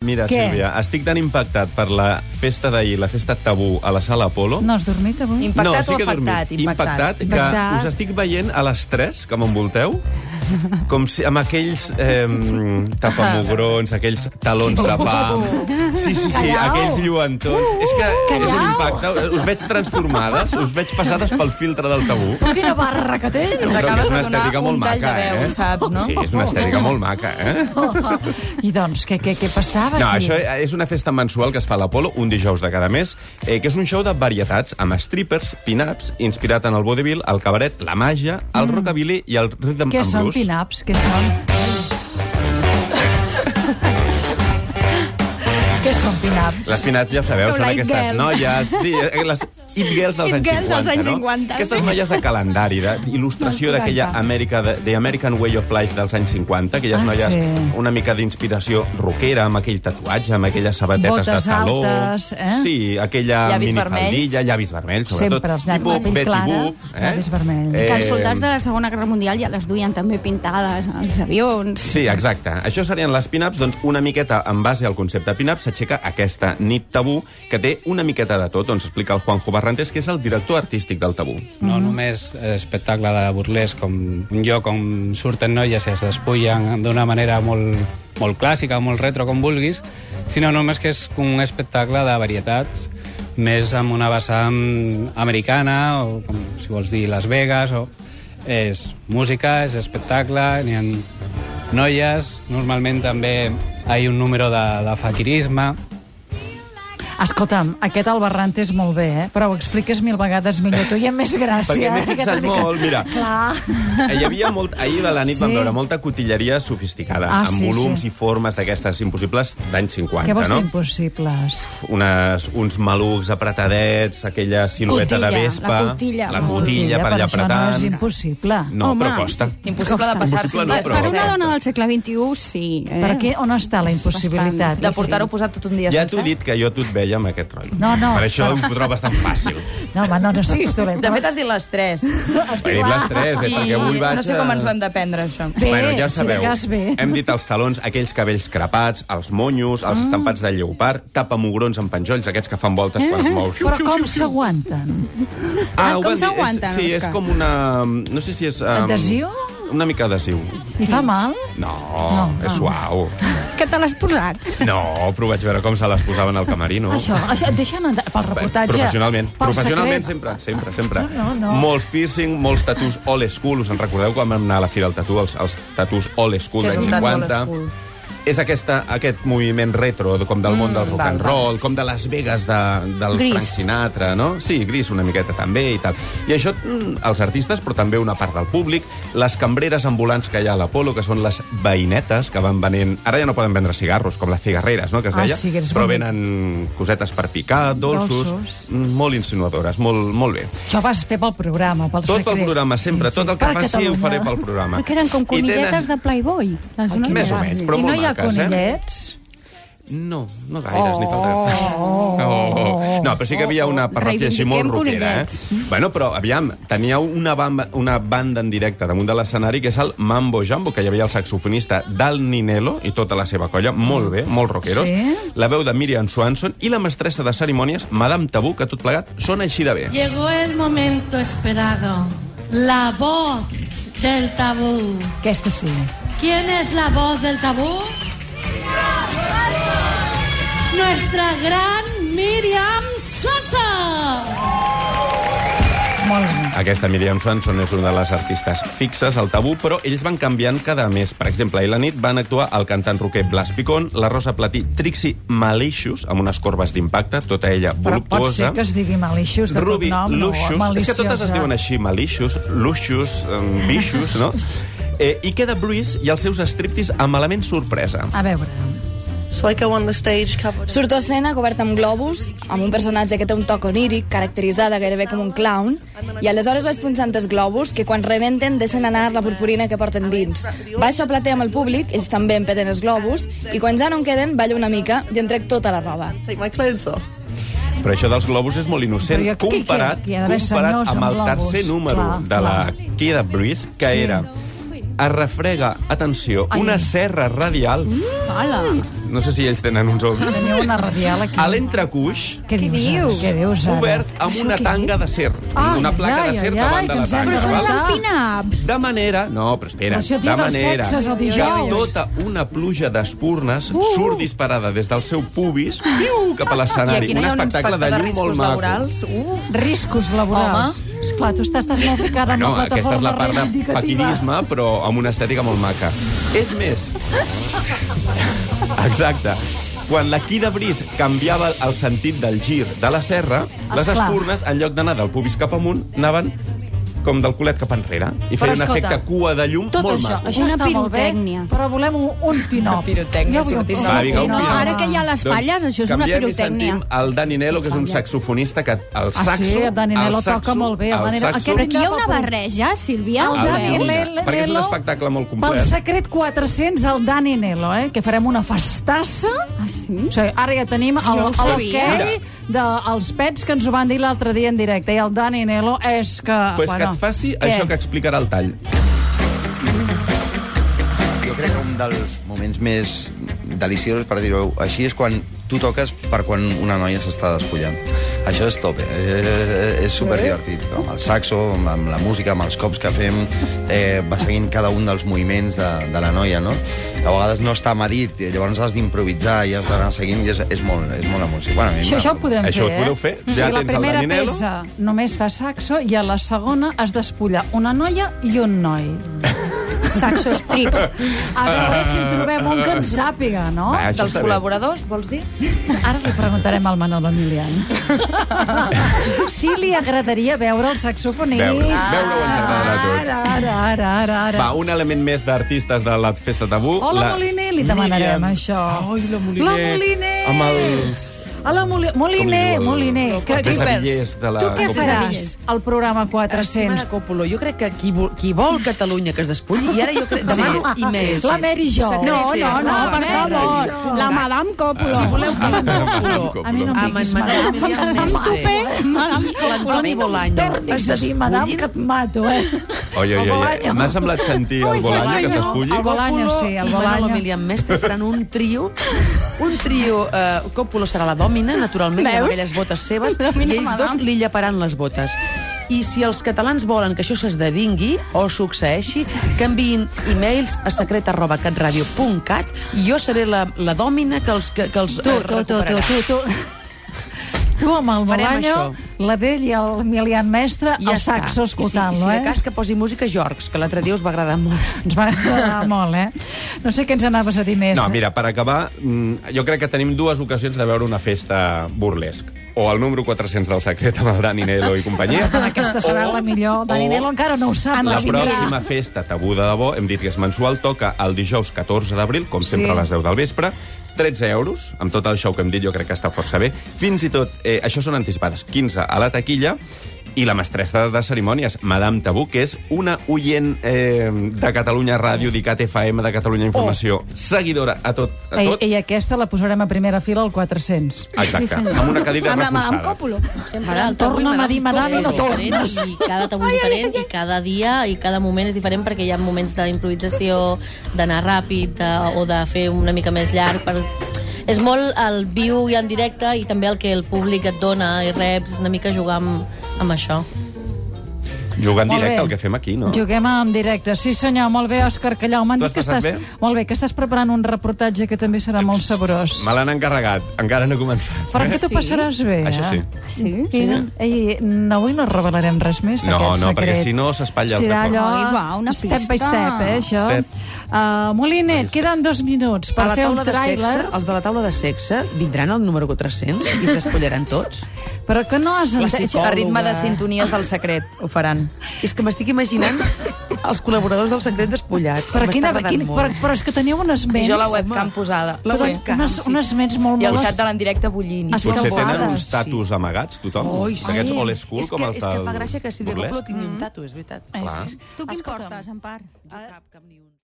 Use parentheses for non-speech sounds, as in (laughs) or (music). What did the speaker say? Mira, Què? Sílvia, estic tan impactat per la festa d'ahir, la festa tabú a la sala Apolo... No has dormit avui? Impactat no, sí o que he dormit. afectat? Impactat, Impactat. que us estic veient a les 3, que m'envolteu, com si, amb aquells eh, tapamugrons, aquells talons de pam... Sí, sí, sí, Callao. aquells lluentons... És que és un impacte, us veig transformades, us veig passades pel filtre del tabú. Quina barra que Ens Però que tens! acabes és una de donar estètica molt un tall maca, de veu, eh? saps, no? Sí, és una estètica molt maca, eh? I doncs, què, què, què passava No, aquí? això és una festa mensual que es fa a l'Apolo un dijous de cada mes, eh, que és un show de varietats amb strippers, pin-ups, inspirat en el vodevil, el cabaret, la màgia, el rockabilly i el rhythm Mm. Què and són blues. pin-ups? Què són? què són pin-ups? Les pin-ups ja ho sabeu, Com són la It aquestes Girl. noies... Sí, eh, les It Girls dels It anys 50, Girl dels anys no? 50, Aquestes sí. noies de calendari, de- d'il·lustració d'aquella Amèrica, de, The American Way of Life dels anys 50, aquelles Ah, noies sí. una mica d'inspiració rockera, amb aquell tatuatge, amb aquelles sabatetes Botes de taló... altes, eh? Sí, aquella Llavis minifaldilla, llavis vermells, sobretot. Sempre, els llavis tipus vermells, Betty Clara, Boop, eh? llavis vermells. Que els soldats de la Segona Guerra Mundial ja les duien també pintades als avions. Sí, exacte. Això serien les pin-ups, doncs una miqueta en base al concepte pin-up s'aixeca aquesta nit tabú que té una miqueta de tot, on s'explica el Juanjo Barrantes, que és el director artístic del tabú. No només eh, espectacle de burlesc, com un lloc on surten noies i es despullen d'una manera molt, molt clàssica, molt retro, com vulguis, sinó només que és un espectacle de varietats, més amb una vessant americana, o com, si vols dir Las Vegas, o és música, és espectacle, n'hi ha noies, normalment també hi ha un número de, de faquirisme, Escolta'm, aquest al barrant és molt bé, eh? però ho expliques mil vegades millor. Tu hi ha més gràcia. Perquè m'he eh, que fixat una mica- molt, mira. Clar. Eh, Hi havia molt... Ahir a la nit sí. vam Sí. veure molta cotilleria sofisticada, Ah, amb sí, volums sí. i formes d'aquestes impossibles d'anys 50, Què vols dir no? impossibles? Unes, uns malucs apretadets, aquella silueta Cotilla, de la vespa... cotilla. La cotilla, per allà Però això no és apretant... impossible. no, Home. però costa. Impossible de passar-se. Impossible un no, dia però- Per una sencer. dona del segle XXI, sí. Eh? Per què? On està la impossibilitat? De portar-ho posat tot un dia Ja sencer. t'ho he dit que jo tu et veia amb aquest rotllo. No, no. Per això ho trobes tan fàcil. (laughs) No, home, no, no siguis dolent. De fet, has dit les 3. He dit les tres, eh, perquè avui vaig... no sé com ens van dependre, això. Bé, bueno, ja ho si de sabeu. cas bé. Hem dit els talons, aquells cabells crepats, els monyos, Mm. els estampats de lleopard, tapamugrons amb penjolls, aquests que fan voltes quan es mou. Eh, Però com s'aguanten? Ah, ho com van dir. s'aguanten, És- Sí, és Òscar? com una... mm, No sé si és... em, Adhesiu? Una mica adhesiu. I fa mal? No, No, és ah. suau. Que te l'has posat? No, però vaig veure com se les posaven al camerino. Això, això et deixen andar pel reportatge. Professionalment. Pel Professionalment, secret. sempre, sempre, sempre. No, no, no. Molts piercing, molts tatus all school. Us en recordeu quan vam anar a la fira del tatu, els, els tatus all school Que és d'anys un tatu all 50? school. És aquesta, aquest moviment retro, de- com del món Mm, del rock val, and val. roll, com de Las Vegas de, del Gris. Frank Sinatra, no? Sí, gris una miqueta també i tal. I això, mm, els artistes, però també una part del públic, les cambreres ambulants que hi ha a l'Apolo, que són les vainetes que van venent... Ara ja no poden vendre cigarros, com les cigarreres, no?, que es Ah, deia, sí, que és però bonic. venen cosetes per picar, dolços, Dolços. Mm, molt insinuadores, molt, molt bé. Això vas fer pel programa, pel Tot secret. pel programa, sempre, tot el que Per faci ho Catalunya. faré pel (laughs) programa. Perquè eren com I conilletes de Playboy. Les noies. Més o menys, però I no molt hi ha maques, eh? conillets? No, no gaires, ni falta... Oh. No, però sí que havia una parròquia així molt Reivindiquem rockera, eh? Bueno, però, aviam, teníeu una, bamba, una banda en directe damunt de l'escenari que és el Mambo Jambo, que hi havia el saxofonista Dal Ninelo i tota la seva colla, molt bé, molt rockeros, Sí. la veu de Miriam Swanson i la mestressa de cerimònies, Madame Tabú, que tot plegat sona així de bé. Llegó el momento esperado, la voz del tabú. Aquesta sí. ¿Quién es la voz del tabú? Nuestra gran Miriam Swanson. Molt bé. Aquesta Miriam Swanson és una de les artistes fixes al tabú, però ells van canviant cada mes. Per exemple, ahir a la nit van actuar el cantant roquer Blas Picón, la Rosa Platí Trixie Malicious, amb unes corbes d'impacte, tota ella Però pot ser voluptuosa. que es digui malicious de Ruby, cognom, eh? Luxus... no? És que totes es diuen així, Malicious, Luxus, um, Vicious, (laughs) no? Eh, I queda Bruce i els seus striptease amb element sorpresa. A veure, So I go on the stage covered. Surto a escena coberta amb globus, amb un personatge que té un toc oníric, caracteritzada gairebé com un clown, i aleshores vaig punxant els globus que quan rebenten deixen anar la purpurina que porten dins. Baixo a platea amb el públic, ells també em peten els globus, i quan ja no em queden, ballo una mica i em trec tota la roba. Take my clothes off. Però això dels globus és molt innocent Però jo- qui- comparat, qui- qui ha d'haver comparat senyors amb el amb globus? tercer número Clar, de la clar. Kida Breeze, que Sí. era es refrega, atenció, una serra radial. Mm, Hola. No sé si ells tenen uns ombres. Teniu una radial aquí. A l'entrecuix, Què dius? ara? dius? Què dius ara? obert amb una tanga de ser. Ai, Una ai, placa ai, de ser ai, davant ai, de que la ens hem tanca. de val? saltar. Pin-ups. De manera... No, però espera. Però si et de diuen manera... sexes el dijous. Uh. que tota una pluja d'espurnes surt disparada des del seu pubis fiu, cap a I l'escenari. aquí no hi ha un espectacle inspector de de llum molt riscos maco. laborals. Uh, Riscos laborals. Home. Esclar, tu estàs, estàs molt ficada No, amb la aquesta plataforma és la part de reivindicativa. fatinisme, però amb una estètica molt maca. És més... Exacte. Quan la quida bris canviava el sentit del gir de la serra, les Esclar. espurnes, en lloc d'anar del pubis cap amunt, anaven com del culet cap enrere. I feia un escolta, efecte cua de llum Tot molt això, maco. això Una està molt pirotècnia. bé, però volem un, un pinop. Una pirotècnia, Jo vull un sortint pinop. de la Va, vinga, un No, pinop. ara que hi ha les falles, això és una canviem i pirotècnia. sentim el Dani Nelo, que és un saxofonista que el Ah, saxo... sí? El Dani Nelo el saxo, toca molt bé, el Ah, El Dani Nelo. saxo, Però aquí hi ha Aquest una barreja, Sílvia. El Ah, el ho Dani Dani veus? Nelo. Perquè és un espectacle molt Pel complet. secret 400, el Dani Nelo, eh? que farem una festassa. Ah, sí? O sigui, ara ja tenim el, No ho el sabia. Keri, de, els pets que ens ho van dir l'altre dia en directe, i el Dani Nelo és que... Pues que et faci què? això que explicarà el tall. Jo crec que un dels moments més deliciosos, per dir-ho així, és quan tu toques per quan una noia s'està despullant. Això és eh? tope, és, és- és superdivertit. Amb el saxo, amb la, amb la música, amb els cops que fem, eh, va seguint cada un dels moviments de, de la noia, no? A vegades no està medit, i llavors has d'improvisar i has d'anar seguint, i és, és, molt, és molt emoció. Bueno, a mi Això, això ho m'agrada. podem Això fer, ho podeu fer. Eh? Ja o sigui, tens la el primera Dani Nelo. peça només fa saxo i a la segona es despulla una noia i (laughs) un noi. Saxo strip. A veure si en trobem un que en sàpiga, no? Ah. Va, això dels està bé. col·laboradors, vols dir? Ara li preguntarem al (laughs) Manolo Emilian. Si li agradaria veure el saxofonista. Veure- veure-ho ens agradarà a tots. Ara, ara, ara, ara. ara. Va, un element més d'artistes de la Festa Tabú. Hola, la... Moliner, li demanarem això. Ai, la Moliner. La Moliner. Amb els... A la Moli- Moliner, Com diu el- Moliner. Que, els desavillers de la tu què Copa. faràs al programa Estimada 400? Còpolo, jo crec que qui, vo- qui vol Catalunya que es despulli, i ara jo crec, demano sí. i més. La Mary Jo. No, no, no, Ah, per bé, favor. això. La Madame Còpolo. Si voleu Ah, que la Còpolo A mi no em amb diguis en Manel madame. Emilià Mestre i l'Antoni Bolanyo Tornis a dir, madame, que et mato, eh? Oi, oi, El oi, oi. Bolaño. M'ha semblat sentir el Bolanya que es despulli. El Bolaño, sí, el i Bolaño. Manolo Emilià Mestre faran un trio un trio, eh, Còpolo serà la dòmina, naturalment, Veus? amb aquelles botes seves, Dòmina i ells dos Madame. li llaparan les botes. I si els catalans volen que això s'esdevingui o succeeixi, que enviïn e-mails a secreta.catradio.cat i jo seré la, la dòmina que els, que, que els Tu, eh, tu, tu, tu, recuperarà. tu, tu. Tu amb el Farem Molanyo, això. la d'ell i el Milian Mestre, I ja el està. saxo I si, i escoltant-lo, si eh? de cas que posi música Jorgs, que l'altre dia us va agradar (laughs) molt. Ens va agradar molt, eh? No sé què ens anaves a dir més. No, mira, per acabar, mm, jo crec que tenim dues ocasions de veure una festa burlesc. O el número 400 del secret amb el Dani Nelo i companyia. (laughs) Aquesta serà o, la millor. Dani o- Nelo encara no ho sap. La no vindrà. pròxima festa tabú de debò, hem dit que és mensual, toca el dijous 14 d'abril, com sempre Sí. a les 10 del vespre, 13 euros, amb tot això que hem dit jo crec que està força bé, fins i tot, eh, això són anticipades, 15 a la taquilla, i la mestressa de cerimònies, Madame Tabú, que és una oient eh, de Catalunya Ràdio, d'ICAT FM, de Catalunya Informació, seguidora a tot... A I, tot. I aquesta la posarem a primera fila al 400. Exacte, amb una cadira Amb la Madame reforçada. Còpolo. Sempre el tabú Torna'm a dir, madame, és no diferent tornes. i cada tabú és diferent i cada dia i cada moment és diferent perquè hi ha moments d'improvisació, d'anar ràpid de, o de fer una mica més llarg per... És molt el viu i en directe i també el que el públic et dona i reps, una mica jugar amb, amb això. Jugar en Molt directe, bé. el que fem aquí, no? Juguem en directe. Sí, senyor, molt bé, Òscar Callau. M'han Tu dit que has passat estàs... bé? Molt bé, que estàs preparant un reportatge que també serà molt saborós. Me l'han encarregat, encara no he començat. Però que t'ho Sí. passaràs bé, Eh? Això sí. Sí? I, i no, avui no revelarem res més No, d'aquest no, secret. perquè si no s'espatlla el Serà record. allò, Ai, va, una step by pista. step, eh, això. Step. Uh, Moliner, queden dos minuts per a la fer un taula de sexe, tràiler, els de la taula de sexe vindran al número 400 i es despullaran tots. però que no has La entès... psicòloga. A ritme de sintonies del secret, ho faran. És que m'estic imaginant els col·laboradors del secret despullats. Però, M'està quina, agradant quina, però, molt. però és que teniu unes I ments... jo la webcam posada. La però webcam, unes, sí. unes ments molt... I el molt xat de l'endirecte bullint. Es- Potser tenen Escampades, uns tatus sí. amagats, tothom. Ai, sí. Aquests old school, és que, com els És que del fa gràcia que Sílvia burlesc. Mm. Coppola tingui un tatu, és veritat. Clar. Tu què em portes, en part? Jo cap, cap ni un.